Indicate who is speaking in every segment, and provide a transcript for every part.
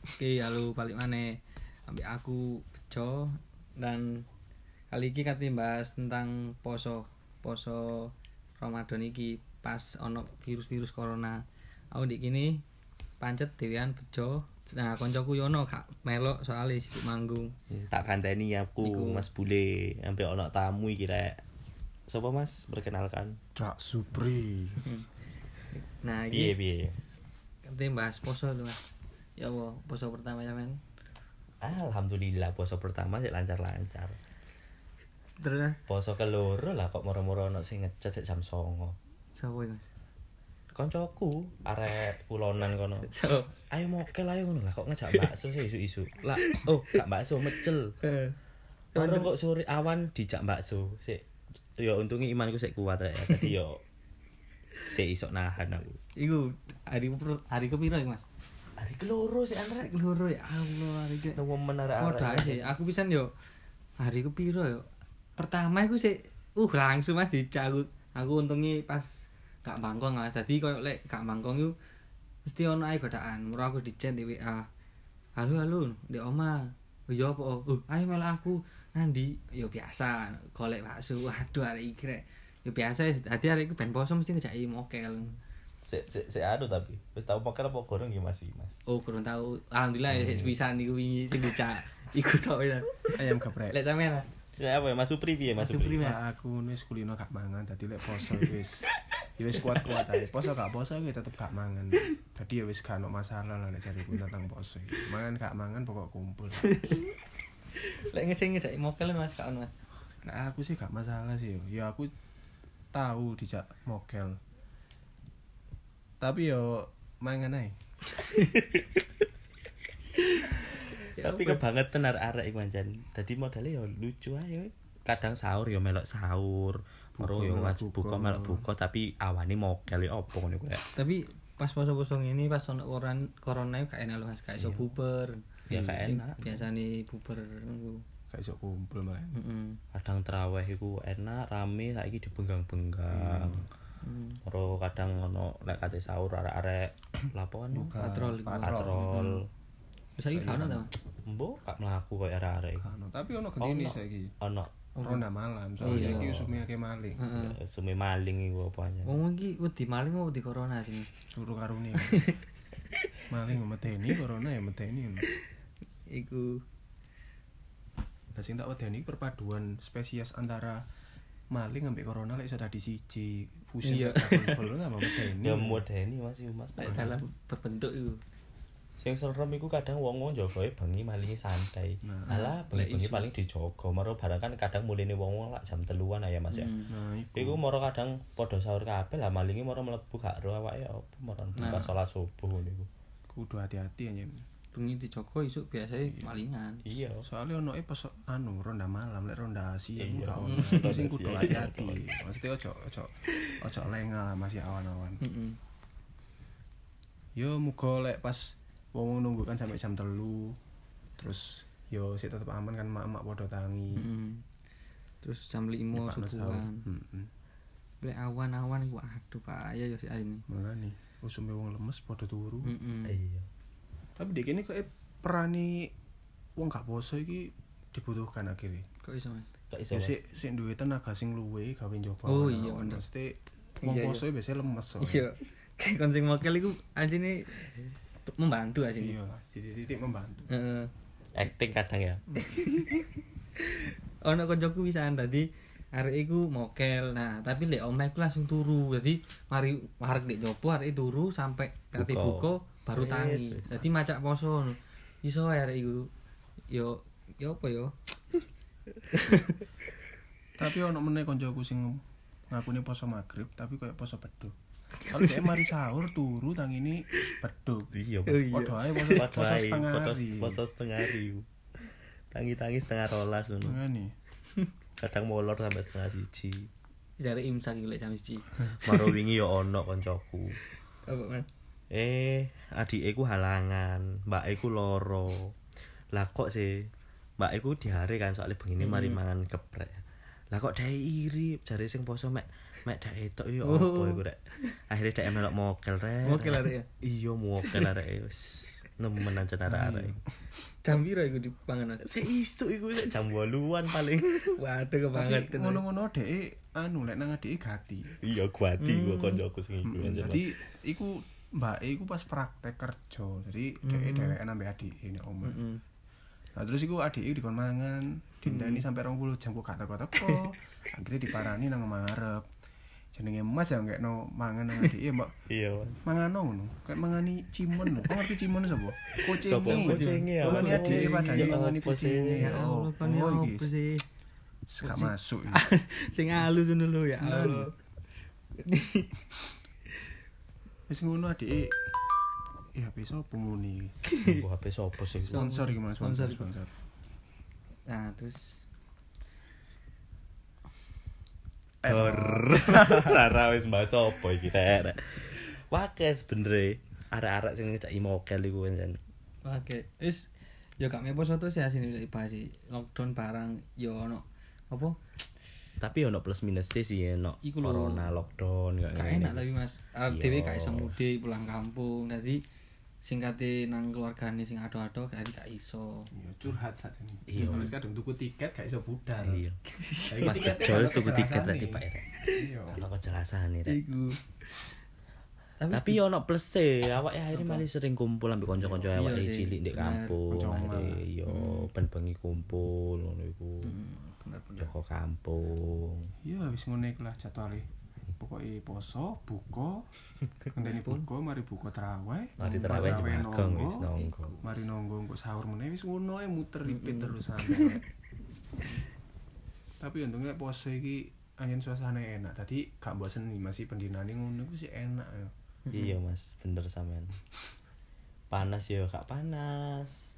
Speaker 1: Oke, halo balik mana? Ambil aku Bejo dan kali ini kate bahas tentang poso. Poso Ramadan iki pas ono virus-virus corona. Aku di kini pancet dewean Bejo. Nah, koncoku Yono gak melok soalnya sibuk manggung.
Speaker 2: Tak kandani aku
Speaker 1: Iku.
Speaker 2: Mas Bule sampai ono tamu iki rek. Sopo Mas perkenalkan.
Speaker 3: Cak Supri.
Speaker 1: Nah,
Speaker 2: Piye
Speaker 1: iki
Speaker 2: piye.
Speaker 1: kate bahas poso tuh, Mas. Ya Allah, poso pertama ya, sampean.
Speaker 2: Alhamdulillah poso pertama sik lancar-lancar.
Speaker 1: Terus
Speaker 2: Poso keloro lah kok moro-moro ono sing ngecet sik jam 09.00.
Speaker 1: sapa iki, Mas?
Speaker 2: Koncoku arek kulonan kono.
Speaker 1: So,
Speaker 2: Ayo mokel ayo ngono lah kok ngejak bakso sih isu-isu. Lah oh gak bakso mecel.
Speaker 1: Eh,
Speaker 2: Orang kok sore awan dijak bakso sik. Ya untungnya imanku sik kuat rek. Tadi yo sik iso nahan aku.
Speaker 1: iku hari per- hari kepiro iki, Mas?
Speaker 2: Hari keloro sih anrek.
Speaker 1: Hari loro ya Allah, hari ke.
Speaker 2: Nunggu menara
Speaker 1: Padha ae sih, aku pisan yo hari ku piro yo. Pertama iku sik uh langsung Mas dicak aku. Aku untungnya pas gak mangkong Mas. Dadi koyo lek gak mangkong iku mesti ono ae godaan. Murah aku dicet di WA. Halo halo, di oma. Oh iya apa? Oh, uh, ayo melu aku. Nandi, yo biasa golek bakso. Waduh arek iki rek. Yo biasa ya, dadi arek iku ben poso mesti ngejaki mokel.
Speaker 2: Se se se anu tapi wis tau poker apa gorong ya Mas iki, Mas.
Speaker 1: Oh, kurang tahu. Alhamdulillah ya sik pisan iku wingi sing dicak. Iku tok ya.
Speaker 3: Ayam geprek.
Speaker 1: Lek sampean Mas? ya?
Speaker 2: Ya apa ya Mas Supri piye Mas
Speaker 1: Mas Supri,
Speaker 2: Supri?
Speaker 1: Mas.
Speaker 3: Nah, aku wis kulino gak mangan dadi lek poso iku wis ya wis kuat-kuat ae. Poso gak poso iku tetep gak mangan. Dadi ya wis gak ono masalah lah nek jariku tentang poso. iku. Mangan gak mangan pokok kumpul.
Speaker 1: Lek ngeceng ngejak mokel Mas gak ono. Mas.
Speaker 3: Nah, aku sih gak masalah sih. yo. Ya aku tahu dijak mokel. Tapi yo mangan ae.
Speaker 1: Ya,
Speaker 2: Tapi kebangetan arek-arek iku anjen. Dadi modalnya ya lucu ae. Kadang sahur ya melok sahur, moro ya
Speaker 3: melok
Speaker 2: wajib buka
Speaker 3: buka.
Speaker 2: melok buka tapi awane mokel ya opo ngono kuwi.
Speaker 1: Tapi pas poso-poso ini pas ono koran corona iku gak enak lho Mas, gak iso buber.
Speaker 2: Ya gak enak.
Speaker 1: Biasane buber ngono.
Speaker 3: Gak iso kumpul malah.
Speaker 1: Heeh.
Speaker 2: Kadang traweh iku enak, rame saiki dibenggang-benggang. Moro kadang ngono lek kate sahur arek-arek kan? lapoan no?
Speaker 1: Patrol iku.
Speaker 2: patrol.
Speaker 1: Saiki gak ono ta. Mas?
Speaker 2: Mbok gak mlaku kok arek-arek iku.
Speaker 3: Ano, tapi ono gedene
Speaker 2: Ono.
Speaker 3: saiki.
Speaker 2: Ono Iya.
Speaker 3: Corona malam, soalnya iki usume akeh maling.
Speaker 1: Heeh.
Speaker 2: Ya, sume maling iku apa
Speaker 3: Oh,
Speaker 2: aja.
Speaker 1: Wong iki wedi maling mau wedi corona sih.
Speaker 3: Turu karuni. maling medeni corona ya medeni.
Speaker 1: Iku
Speaker 3: Lah sing tak wedeni perpaduan spesies antara maling ambek corona lek sudah disiji fusi
Speaker 1: Iya.
Speaker 3: corona sama medeni.
Speaker 2: Ya modeni Mas iku Mas.
Speaker 1: lek dalam berbentuk iku.
Speaker 2: Sing serem iku kadang wong-wong jagae bengi malingi santai.
Speaker 3: Nah,
Speaker 2: Alah bengi-bengi paling dijogo. Moro barang kan kadang mulene wong-wong lak jam teluan ya Mas ya.
Speaker 3: Nah, iku.
Speaker 2: Iku moro kadang padha sahur kabeh lah malingi moro mlebu gak ro awake ya apa moro
Speaker 3: Nah.
Speaker 2: buka salat subuh ngono iku.
Speaker 3: kudu hati-hati ya.
Speaker 1: Bengi dijogo isuk biasanya malingan.
Speaker 2: Iya.
Speaker 3: Soalnya ono e pas anu ronda malam lek ronda Asia
Speaker 2: Iya.
Speaker 3: iku gak ono.
Speaker 2: Ronda Asia
Speaker 3: Sing kudu
Speaker 2: iku gak
Speaker 3: hati-hati. Maksudnya ojo ojo ojo lenga lah masih awan-awan.
Speaker 1: Heeh.
Speaker 3: yo muga lek pas wong nunggu kan sampai jam telu terus yo sik tetep aman kan mak-mak podo tangi
Speaker 1: Heeh. Terus jam 5
Speaker 3: Nyepakno sahur.
Speaker 1: subuhan.
Speaker 3: Heeh.
Speaker 1: Lek awan-awan iku aduh Pak, ya yo sik ini.
Speaker 3: Mulane usume wong lemes podo turu.
Speaker 1: Heeh.
Speaker 2: Iya.
Speaker 3: Tapi dek ini kok eh, perani wong gak poso iki dibutuhkan akhirnya.
Speaker 1: Kok iso Iya, Mas?
Speaker 2: Gak iso.
Speaker 3: Ya
Speaker 2: Mas.
Speaker 3: sik sik duwe tenaga sing luwe gawe njogo.
Speaker 1: Oh,
Speaker 3: awan-awan.
Speaker 1: iya, bener.
Speaker 3: Mesti wong
Speaker 1: Iya, iya.
Speaker 3: poso biasanya lemes soalnya.
Speaker 1: Oh, Iya. Kayak konsing mokel iku anjene membantu anjene.
Speaker 3: Iya lah, titik-titik membantu.
Speaker 1: Heeh.
Speaker 2: Acting kadang ya.
Speaker 1: Ono koncoku pisan tadi arek iku mokel. Nah, tapi lek omah iku langsung turu. Jadi mari marek nek nyopo arek turu sampai nanti
Speaker 2: Buka.
Speaker 1: buka baru
Speaker 2: Wes,
Speaker 1: tangi.
Speaker 2: wes.
Speaker 1: Jadi macak poso. ngono. Iso ae arek iku. Yo yo apa yo?
Speaker 3: Tapi ono meneh koncoku sing ngakune poso maghrib tapi kayak poso bedo. Kalau dia mari sahur turu tang ini bedo.
Speaker 2: Iya.
Speaker 1: Oh,
Speaker 2: Mas.
Speaker 1: iya.
Speaker 3: Podo ae poso,
Speaker 2: Poso
Speaker 3: poso setengah hari.
Speaker 2: hari. Poso setengah hari. iku. Tangi-tangi setengah rolas ngono.
Speaker 3: Ngene.
Speaker 2: kadang molor sampai setengah siji
Speaker 1: Dari imsak iki lek jam 1.
Speaker 2: maro wingi yo ono koncoku
Speaker 1: Apa men?
Speaker 2: eh adike ku halangan mbak ku
Speaker 1: Hmm.
Speaker 2: loro lah kok sih mbak ku diare kan soalnya begini mari mangan geprek Lah kok dhek iri jare sing poso mek mek dhek etok yo opo iku rek. Akhire dhek melok mokel rek.
Speaker 1: Oh. Mokel arek ya?
Speaker 2: Iya mokel arek e, wis nemenan cenah arek.
Speaker 1: Hmm. Jam piro iku dipangan? Mas?
Speaker 2: Sik isuk iku sik jam 8-an paling.
Speaker 1: Waduh kebanget
Speaker 3: Tapi ngono-ngono dhek anu lek nang dhek gati.
Speaker 2: Iya kuati
Speaker 1: Hmm.
Speaker 2: gua koncoku sing iku anjir. Mas.
Speaker 3: Jadi iku mbak iku pas praktek kerja. Jadi dhek dheweke nambah adik ini om. Nah, terus iku adike dikon mangan, dinteni sampai 20 jam kok gak teko-teko. Akhirnya diparani nang marep. Jenenge Mas ya ngekno mangan nang adike, Mbak.
Speaker 2: Iya. Mas.
Speaker 3: Mangano ngono, kayak mangani cimon lho. Kok ngerti cimon sapa? Kucing.
Speaker 2: Sopo kucinge ya? Mas?
Speaker 3: Mangani adike padane
Speaker 2: Iya,
Speaker 3: mangani
Speaker 2: apa sih?
Speaker 3: kucinge.
Speaker 1: Ya
Speaker 3: Ya
Speaker 1: Allah,
Speaker 3: opo
Speaker 1: kan ya
Speaker 3: Oh, iki?
Speaker 1: opo sih?
Speaker 3: Gak masuk iki.
Speaker 1: Sing halus ngono lho ya Allah.
Speaker 3: Wis ngono adike. Ya besok opo muni?
Speaker 2: Nunggu HP sopo sih?
Speaker 3: Sponsor iki Mas,
Speaker 1: Sponsor.
Speaker 3: sponsor, sponsor.
Speaker 1: Nah, terus
Speaker 3: Eh,
Speaker 2: Dor. Rara wis mbahas opo iki rek. Wakes bener arek-arek sing ngecak mokel iku kan.
Speaker 1: Oke, wis ya gak mepo soto sih asine lek dibahas sih. Lockdown barang ya ono apa?
Speaker 2: Tapi ono plus minus e sih ya ono
Speaker 1: Iku lho.
Speaker 2: corona lockdown kayak
Speaker 1: Gak
Speaker 2: ngene.
Speaker 1: enak tapi Mas. Arep
Speaker 2: Iya.
Speaker 1: dhewe gak iso mudik pulang kampung. Dadi singkate nang keluargane sing ado-ado kaya gak iso.
Speaker 3: Ya curhat saat ini.
Speaker 2: Iya.
Speaker 3: Soalnya kadang tuku tiket gak iso budal.
Speaker 2: Iya.
Speaker 3: Tapi
Speaker 2: Mas
Speaker 3: tiketnya
Speaker 2: Kerjo
Speaker 3: gak
Speaker 2: wis
Speaker 3: ada
Speaker 2: tuku tiket
Speaker 3: kejelasan
Speaker 2: tadi
Speaker 3: nih.
Speaker 2: Pak Rek.
Speaker 3: Iya.
Speaker 2: Ono kejelasan nih Rek.
Speaker 1: Iku. Tapi,
Speaker 2: Tapi yo ono plus e, awake akhirnya malah sering kumpul ambek
Speaker 1: Iya
Speaker 2: kanca-kanca awake
Speaker 1: sih,
Speaker 2: cilik ndek
Speaker 1: bener. Hmm.
Speaker 2: kampung.
Speaker 3: Kanca
Speaker 2: akhirnya Yo ben-bengi kumpul ngono iku.
Speaker 1: bener-bener.
Speaker 2: Teko kampung.
Speaker 3: Ya wis ngono iku lah jadwale. Pokoke poso, buka, kandani buka, mari buka traweh.
Speaker 2: Mari
Speaker 1: Hmm.
Speaker 2: terawih
Speaker 3: Terawih
Speaker 2: jemagong
Speaker 3: nonggo.
Speaker 2: wis nonggo.
Speaker 3: Mari nonggo engko sahur meneh wis ngono ae muter repeat terus sampe. Tapi untungnya poso iki angin suasana enak. Tadi gak bosen nih masih pendinane ngono iku sih enak ya.
Speaker 2: Iya Mas, bener sampean. Panas yo gak panas.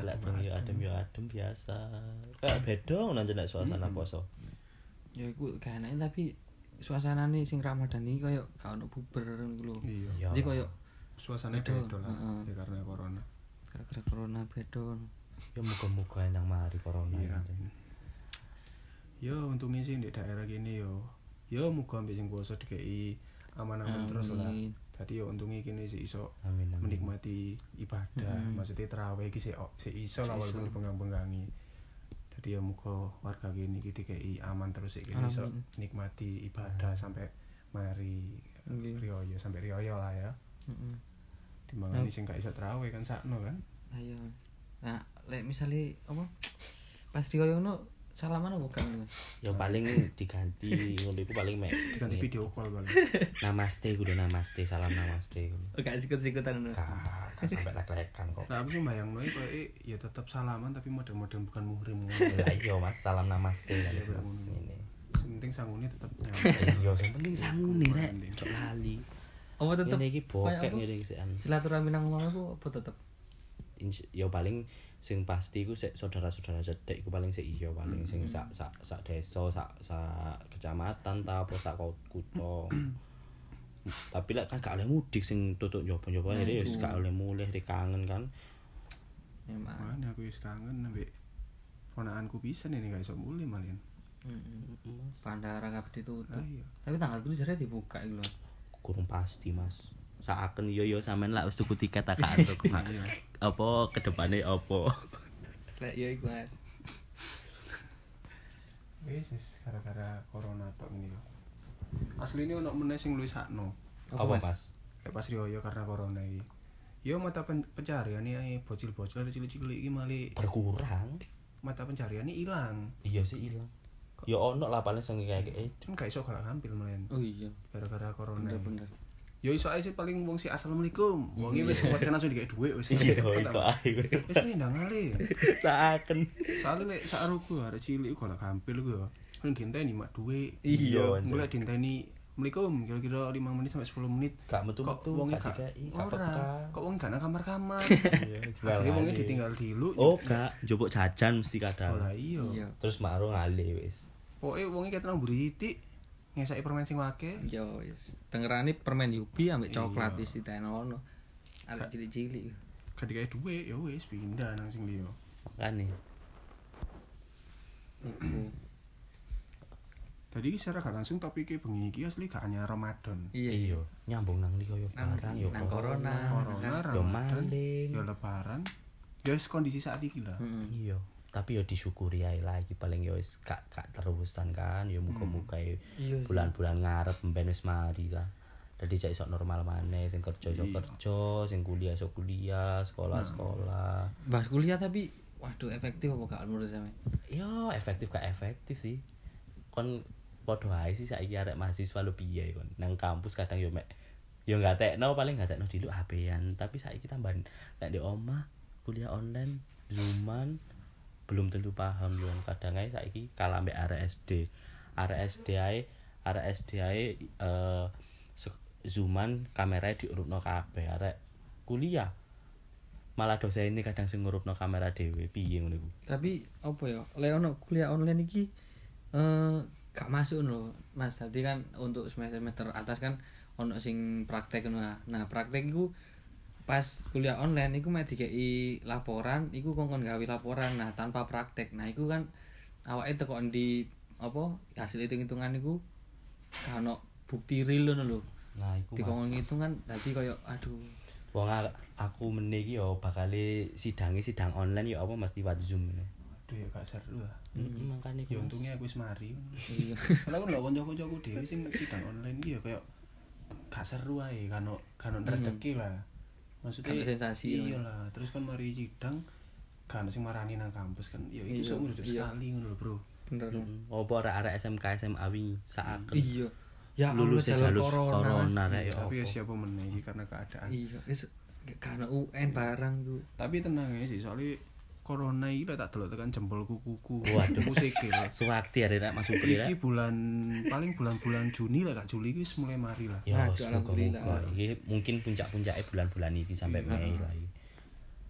Speaker 2: Lek bengi yo adem yo adem biasa. Kayak bedong nang nek suasana poso.
Speaker 1: Ya iku gak enak tapi suasanane sing Ramadan iki kaya gak ono buber ngono lho.
Speaker 3: Iya.
Speaker 2: Iya.
Speaker 1: Jadi kaya
Speaker 3: Suasana
Speaker 1: Betul.
Speaker 3: beda lah
Speaker 1: Heeh.
Speaker 3: ya karena corona.
Speaker 1: gara-gara corona bedon.
Speaker 2: Yo muga-muga nang mari corona.
Speaker 3: Iya. Yo untungnya sih di daerah gini yo. Yo muga ambek sing kuasa dikei aman-aman terus lah.
Speaker 1: Amin.
Speaker 3: Tadi yo untungnya gini sih iso
Speaker 2: Amin amin.
Speaker 3: menikmati ibadah. Maksudnya terawih iki sih sih iso lah walaupun bengang-bengangi. Jadi ya muga warga gini iki dikei aman terus sih gini iso
Speaker 1: Amin.
Speaker 3: nikmati ibadah sampai mari
Speaker 1: Nggih.
Speaker 3: rioyo sampai rioyo lah ya.
Speaker 1: Heeh.
Speaker 3: Timbangane sing gak iso terawih kan sakno kan.
Speaker 1: Ayo. Nah, lek misale apa? Pas Rio ngono salaman apa gak ngono?
Speaker 2: Yo paling diganti ngono iku paling mek.
Speaker 3: Diganti video call balik.
Speaker 2: Namaste kudu namaste, salam namaste.
Speaker 1: Oh, Gak sikut-sikutan ngono.
Speaker 2: Kak, kak sampe lek-lekan kok.
Speaker 3: Nah, aku sih bayang noy kok ya tetap salaman tapi model-model bukan muhrim.
Speaker 2: Lah iya Mas, salam namaste kan
Speaker 3: Iya,
Speaker 2: Mas
Speaker 3: bener.
Speaker 2: ini.
Speaker 3: Penting sanggulnya tetap nyaman.
Speaker 2: Iya, sing penting sangune rek. Cok lali.
Speaker 1: Apa tetep
Speaker 2: Ngene iki
Speaker 1: kayak
Speaker 2: bokek
Speaker 1: apa?
Speaker 2: ngene iki sik an.
Speaker 1: silaturahmi nang ngono apa apa tetep?
Speaker 2: Insya- ya paling sing pasti iku sik saudara-saudara cedhek iku paling sik iya paling sing sak sak sak desa sak sak kecamatan ta apa sak ko- kutha. Tapi lek kan gak oleh mudik sing tutup nyoba-nyoba akhirnya ya wis gak oleh mulih re kangen kan.
Speaker 1: Memang.
Speaker 3: Mana aku wis kangen ambek ponakanku pisan ini gak iso mulih malian.
Speaker 1: Mm-mm. Bandara kabeh ditutup.
Speaker 3: Ah iya.
Speaker 1: Tapi tanggal kudu jare dibuka iku lho.
Speaker 2: Kurang pasti, Mas. Saaken yo yo sampean lek wis tuku tiket tak gak antuk. Mak. Apa kedepane apa?
Speaker 1: Lek ya iku Mas.
Speaker 3: Wis wis gara-gara corona tok ini yo. Asli ini ono meneh sing luwih sakno.
Speaker 2: Apa, Mas?
Speaker 3: Lek pas rioyo karena corona iki. Yo mata pen pencarian ini bocil-bocil cilik-cilik iki mali
Speaker 2: Berkurang.
Speaker 3: mata pencarian ini ilang.
Speaker 2: Iya sih ilang. Ya ono lah paling sing kayak eh
Speaker 3: Kan gak iso gak ngambil malian
Speaker 1: Oh iya,
Speaker 3: gara-gara corona. iki.
Speaker 1: bener.
Speaker 3: Yo Ya iso ae sih paling wong si assalamualaikum. Wong iki wis kuwat langsung dikek dhuwit wis.
Speaker 2: iya iso ae.
Speaker 3: Wis nendang ale.
Speaker 2: Saaken.
Speaker 3: Soale nek sakroku arek cilik kok lak kampil ku yo. Kan genteni mak dhuwit.
Speaker 2: Iya, anjir.
Speaker 3: Mulai dinteni Assalamualaikum kira-kira 5 menit sampai 10 menit.
Speaker 2: Gak metu-metu,
Speaker 3: Kok wonge
Speaker 2: gak
Speaker 3: gak
Speaker 2: dikei, gak
Speaker 3: ora.
Speaker 2: peka.
Speaker 3: Kok wong gak nang kamar-kamar. Akhirnya wonge
Speaker 2: Wonge
Speaker 3: ditinggal dilu.
Speaker 2: Oh, gak njupuk jajan mesti kadang.
Speaker 3: Oh lah iya.
Speaker 1: Iya.
Speaker 2: Terus maru ngale wis.
Speaker 3: Pokoke wonge ket nang mburi titik ngesaki permen sing wake.
Speaker 1: Yo yes. Dengerane permen Yupi ambek coklat isi ono. Arek cilik-cilik.
Speaker 3: Gak dikek dhuwit ya wis pindah nang sing liya.
Speaker 2: Makane.
Speaker 1: Iku.
Speaker 3: Tadi iki secara gak langsung topiknya bengi iki asli gak hanya Ramadan.
Speaker 1: Iya.
Speaker 2: Iya, nyambung nang liya yo
Speaker 1: Nang-
Speaker 2: barang yo
Speaker 1: nang corona.
Speaker 2: corona.
Speaker 3: Corona,
Speaker 2: Yo
Speaker 3: Ramadan,
Speaker 2: maling.
Speaker 3: yo lebaran. Ya wis kondisi saat iki lah.
Speaker 1: Heeh.
Speaker 2: Iya, tapi yo disyukuri ae lah iki paling yo wis gak gak terusan kan. Yo muga-muga yo
Speaker 1: Iya sih.
Speaker 2: bulan-bulan ngarep ben wis mari lah. Dadi cek iso normal maneh, sing kerja iso
Speaker 3: Iya.
Speaker 2: kerja, sing kuliah iso kuliah, sekolah sekolah.
Speaker 1: Bahas kuliah tapi waduh efektif apa gak menurut sampe?
Speaker 2: Yo Ya, efektif gak efektif sih. Kon podo ae sih saiki arek mahasiswa lu piye kon. Nang kampus kadang yo mek yo gak tekno paling gak tekno diluk HP-an, tapi saiki tambahan nek di omah kuliah online zooman belum tentu paham yo kadang ae saiki kalah mek arek SD. Arek SD ae arek SD ae eh, se- zooman kamerae diurutno kabeh arek kuliah malah dosen ini kadang sing ngurupno kamera dhewe piye ngono iku
Speaker 1: Tapi apa ya? Lek ono kuliah online iki eh gak masuk lho. Mas tadi kan untuk semester-semester atas kan ono sing praktek ngono. lah. Nah, praktek iku pas kuliah online iku mek dikei laporan, iku kongkon gawe laporan. Nah, tanpa praktek. Nah, iku kan awake teko di apa hasil hitung-hitungan iku gak ono bukti real ngono lho.
Speaker 2: Nah, iku Mas.
Speaker 1: Dikongkon hitung kan dadi koyo aduh.
Speaker 2: Wong a- aku meniki yo bakale sidange sidang online yo apa Mas liwat Zoom ngene.
Speaker 3: Aduh ya gak seru lah.
Speaker 2: Heeh, mangkane
Speaker 3: Ya untungnya aku wis mari.
Speaker 1: Iya.
Speaker 3: Soalnya aku ndelok kanca-kancaku dhewe sing sidang online iki ya kayak gak seru ae, kan kan rezeki lah. Maksudnya
Speaker 1: Gak ada sensasi,
Speaker 3: Iya lah, terus kan mari sidang kan sing marani nang kampus kan ya
Speaker 1: Iya,
Speaker 3: iki sok ngurus
Speaker 1: iya.
Speaker 3: sekali ngono lho, Bro.
Speaker 1: Bener. lho.
Speaker 2: opo Hmm, arek-arek SMK SMA wi saken
Speaker 1: Iya. Ya Allah
Speaker 2: lulus
Speaker 1: jalur
Speaker 2: jalur
Speaker 1: corona. Mas.
Speaker 2: corona rek yo.
Speaker 3: Tapi ya
Speaker 2: Iya, opo.
Speaker 3: siapa meneh iki karena keadaan.
Speaker 1: Iya, wis karena UN barang iku.
Speaker 3: Tapi tenang ya sih, soalnya corona ini lah tak delok tekan jempol kukuku.
Speaker 2: Waduh.
Speaker 3: Kuku sikil.
Speaker 2: Suwakti arek rek Mas Supri
Speaker 3: Iki
Speaker 2: rek.
Speaker 3: bulan paling bulan-bulan Juni lah Kak Juli iki wis mulai mari lah.
Speaker 2: Yo
Speaker 1: Aduh,
Speaker 2: semoga-moga
Speaker 1: alhamdulillah.
Speaker 2: iki mungkin puncak-puncake bulan-bulan iki sampai Mei lah. iki.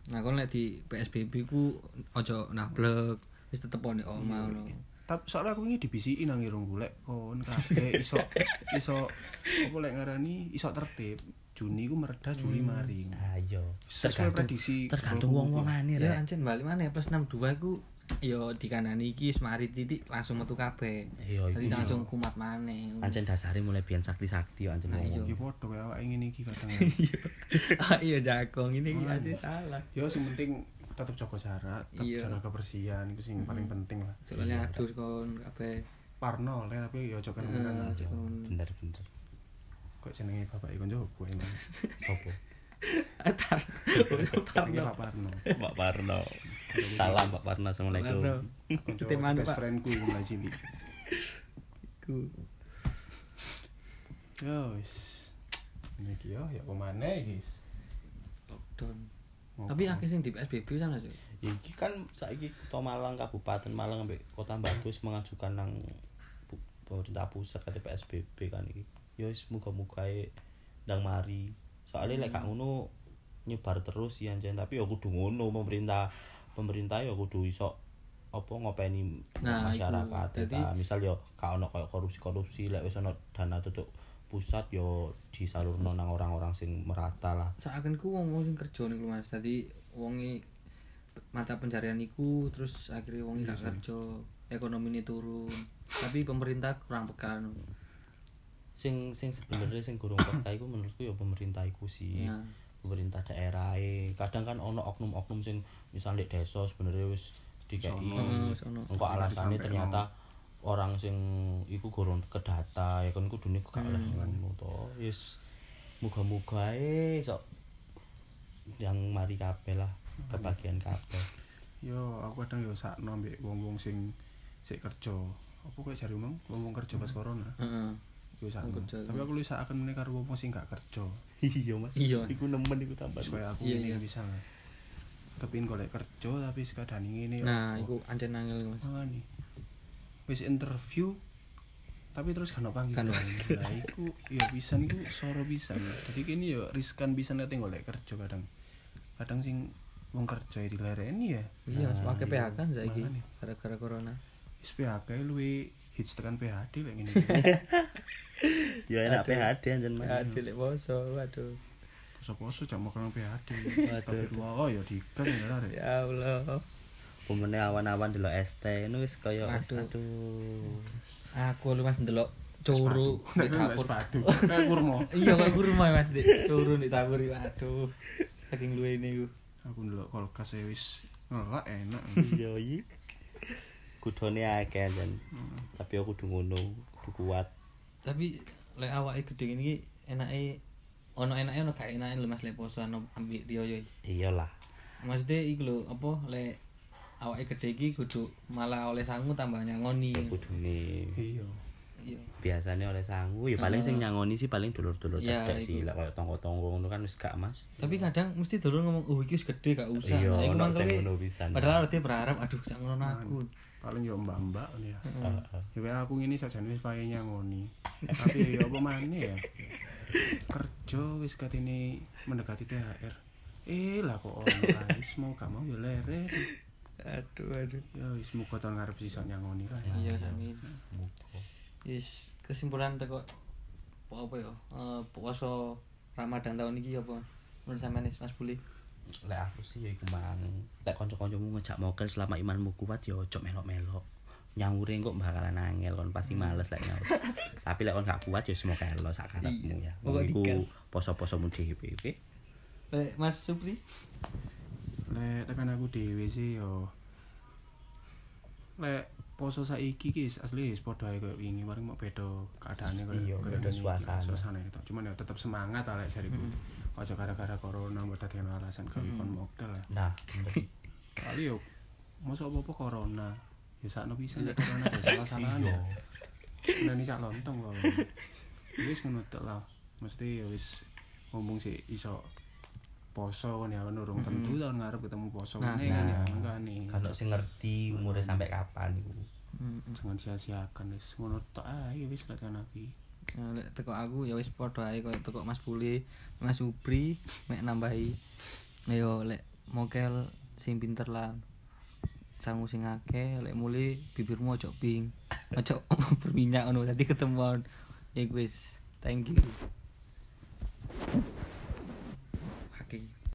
Speaker 1: Nah, kon lek di PSBB ku ojo nablek, wis tetep ono omah ngono.
Speaker 3: Tapi soalnya aku ini dibisikin nang irung golek kon kabeh iso iso apa lek ngarani iso tertib. Juni ku mereda Juli mari.
Speaker 2: Ayo.
Speaker 3: Sesuai
Speaker 2: Tergantung
Speaker 3: prediksi
Speaker 2: tergantung
Speaker 3: kumpul-kumpul.
Speaker 2: wong-wongane
Speaker 1: Ya
Speaker 2: rek.
Speaker 1: anjen balik mana plus 62 iku yo dikanani iki wis mari titik langsung metu kabeh.
Speaker 2: Iya,
Speaker 1: Dadi
Speaker 2: iku
Speaker 1: langsung kumat maneh.
Speaker 2: Ancen dasare mulai biyen sakti-sakti yo ancen
Speaker 1: Nah,
Speaker 2: wong.
Speaker 1: iya.
Speaker 3: Ya padha kaya awake ngene iki kadang.
Speaker 1: Ah, iya jagong ini iki asli salah.
Speaker 3: Ya sing penting tetep jaga jarak, tetep
Speaker 1: Iya.
Speaker 3: jaga kebersihan iku sing paling penting lah.
Speaker 1: Soalnya adus kon kabeh.
Speaker 3: Parno lah tapi ya
Speaker 1: Eh,
Speaker 3: jaga kebenaran.
Speaker 1: ojo kon-
Speaker 2: Bener-bener.
Speaker 3: Kok jenenge bapak iku njok gue emang.
Speaker 2: Sopo?
Speaker 1: Atar. Parno.
Speaker 3: Parno. Pak Parno.
Speaker 2: Pak Parno. Salam Pak Parno. Assalamualaikum.
Speaker 1: Teman,
Speaker 3: Teman
Speaker 1: anu,
Speaker 3: best
Speaker 1: Pak.
Speaker 3: friendku mulai cilik.
Speaker 1: Ku.
Speaker 3: Yo wis. Niki yo ya pemane guys.
Speaker 1: Lockdown. Tapi akeh sing di PSBB sana sih.
Speaker 2: Ya, iki kan saiki Kota Malang Kabupaten Malang ambek Kota Batu wis mengajukan nang pu- pemerintah pusat kate PSBB kan iki. Ya wis muga-muga ae ndang mari. Soale
Speaker 1: Hmm.
Speaker 2: lek gak ngono nyebar terus ya anjen tapi ya kudu ngono pemerintah pemerintah ya kudu iso apa ngopeni
Speaker 1: Nah, iku.
Speaker 2: masyarakat
Speaker 1: Jadi-
Speaker 2: Nah, misal yo gak ono koyo korupsi-korupsi lek wis ono dana tutup pusat yo disalurno nang orang-orang sing merata lah
Speaker 1: Saakenku wong wong sing kerja niku Mas. Dadi wonge mata pencarian iku terus akhirnya wonge gak kerja, ekonomine turun. Tapi pemerintah kurang peka. no.
Speaker 2: sing sing sebenarnya sing gurung peka iku menurutku ya pemerintah iku sih
Speaker 1: Ya.
Speaker 2: pemerintah daerah e. kadang kan ono oknum-oknum sing misal di desa sebenarnya wis dikei
Speaker 1: Sono. Oh, sono.
Speaker 2: engko alasannya
Speaker 3: Disampe
Speaker 2: ternyata orang sing iku gurung ke data ya kan kudune gak
Speaker 1: Hmm.
Speaker 2: oleh ngono to yes muga-muga ae sok yang mari kabeh lah
Speaker 1: Hmm.
Speaker 2: kebagian kabeh
Speaker 3: Yo aku kadang yo sakno mbek wong-wong sing sik kerja. Apa kowe jare omong wong-wong kerja pas corona?
Speaker 1: Heeh.
Speaker 3: Yo sakno.
Speaker 1: Hmm. Kerja.
Speaker 3: Tapi aku lu akan meneh karo wong sing gak kerja.
Speaker 2: iya mas
Speaker 1: Iya.
Speaker 2: iku nemen iku tambah
Speaker 3: Supaya aku
Speaker 1: Iya, iya.
Speaker 3: ini bisa lah. Kepin golek kerja tapi sekadar ngene yo.
Speaker 1: Nah, iku anjen nangil iku, Mas.
Speaker 3: Makane. Wis interview tapi terus kan
Speaker 1: Kan.
Speaker 3: panggilan. Lah iku ya pisan iku soro pisan. Jadi kini ya riskan pisan nek golek kerja kadang. Kadang sing wong kerja ya dilereni ya.
Speaker 1: Iya, Mas, pakai PHK kan saiki
Speaker 3: Makanya.
Speaker 1: gara-gara corona.
Speaker 3: Wis PHK luwe hits tekan PHD lek ngene.
Speaker 2: ya enak PHD anjen mas
Speaker 1: Aduh, lek poso, waduh.
Speaker 3: Poso-poso jam makan PHD. Astagfirullah oh ya dikas ya lah.
Speaker 1: Ya Allah.
Speaker 2: pemene awan-awan delok es teh ngono wis kaya wis
Speaker 1: Waduh.
Speaker 2: aduh.
Speaker 1: aku lu mas ndelok curu di
Speaker 3: Nek
Speaker 1: dapur
Speaker 3: sepatu. Nek kurma.
Speaker 1: iya kok rumah mas di curu di dapur iku. aduh saking luwe ini ku
Speaker 3: Aku ndelok kulkas e wis ngelak enak.
Speaker 2: Iya iki. Kudone akeh jan. Tapi aku kudu ngono, kudu kuat.
Speaker 1: tapi lek awake gede ini enake ono enake ono gak enake lho mas lek poso ono ambek riyo yo
Speaker 2: Iyalah.
Speaker 1: maksudnya iku lho apa lek awake gede iki kudu malah oleh sangu tambah nyangoni
Speaker 2: Kudune
Speaker 3: Iya.
Speaker 1: iya
Speaker 2: biasanya oleh sangu ya paling sing nyangoni sih paling dulur-dulur
Speaker 1: Ya, iku.
Speaker 2: cedek sih lah kaya tonggo-tonggo ngono kan wis gak Mas.
Speaker 1: tapi kadang mesti dulur ngomong oh iki wis gede gak usah iku
Speaker 2: Iya, ono
Speaker 1: mangkele-
Speaker 2: sing ngono pisan.
Speaker 1: padahal dia berharap aduh sak ngono aku
Speaker 3: Paling yo mbak-mbak ngono ya.
Speaker 1: Mm.
Speaker 2: Heeh.
Speaker 3: Ya wae aku ngene sajane wis wae nyangoni. Tapi ya apa maneh ya. Kerja wis katene mendekati THR. Eh lah kok online wis mau gak mau ya lere.
Speaker 1: aduh aduh
Speaker 3: Ya wis muga tahun ngarep sisa nyangoni lah. ya.
Speaker 1: iya samin
Speaker 2: Muga.
Speaker 1: yes kesimpulan teko apa apa ya Eh, puasa Ramadan tahun ini apa menurut sama nih Mas Buli
Speaker 2: Lek aku sih ya iku mang. Lek kanca-kancamu ngejak mokel selama imanmu kuat ya ojo melok-melok. Nyaure kok bakalan angel kon pasti
Speaker 1: Hmm.
Speaker 2: males lek nyaur. Tapi lek kon gak kuat ya semoga elo sak karepmu
Speaker 1: Iya,
Speaker 2: ya.
Speaker 1: pokok
Speaker 2: Iku
Speaker 1: digas.
Speaker 2: poso-posomu dhewe, oke?
Speaker 1: Eh, Mas Supri
Speaker 3: Lek tekan aku dhewe sih yo. Lek poso saiki ki is- asli wis padha ae koyo wingi paling mau beda keadaane koyo
Speaker 2: Iya,
Speaker 3: koyo
Speaker 2: beda
Speaker 3: ngene iki,
Speaker 2: suasana.
Speaker 3: Suasana itu. Cuman ya tetep semangat lah lek jariku. Ojo gara-gara corona mbok dadekno alasan gawe kon modal lah.
Speaker 2: Nah, bener.
Speaker 3: Kali yo mosok apa-apa corona. Ya sakno bisa ya corona ya salah-salahan ya. Nah ini sak lontong kok. Ya Wis ngono tok lah. Mesti ya wis ngomong sih iso poso kan ya kan urung tentu tahun ngarep ketemu poso
Speaker 1: Nah,
Speaker 3: nah, kan ya
Speaker 2: nah.
Speaker 3: kan nih.
Speaker 2: kalau sing ngerti umure sampai kapan iku.
Speaker 3: Jangan sia-siakan wis ngono tok ae wis lek kan aku.
Speaker 1: Nah, lek teko aku ya wis padha ae koyo teko Mas Puli, Mas Supri mek nambahi. Nah, Yo lek mokel sing pinter lah. Sangu sing akeh, lek muli bibirmu ojo pink. Ojo berminyak ngono dadi ketemuan. Ya wis. Thank you.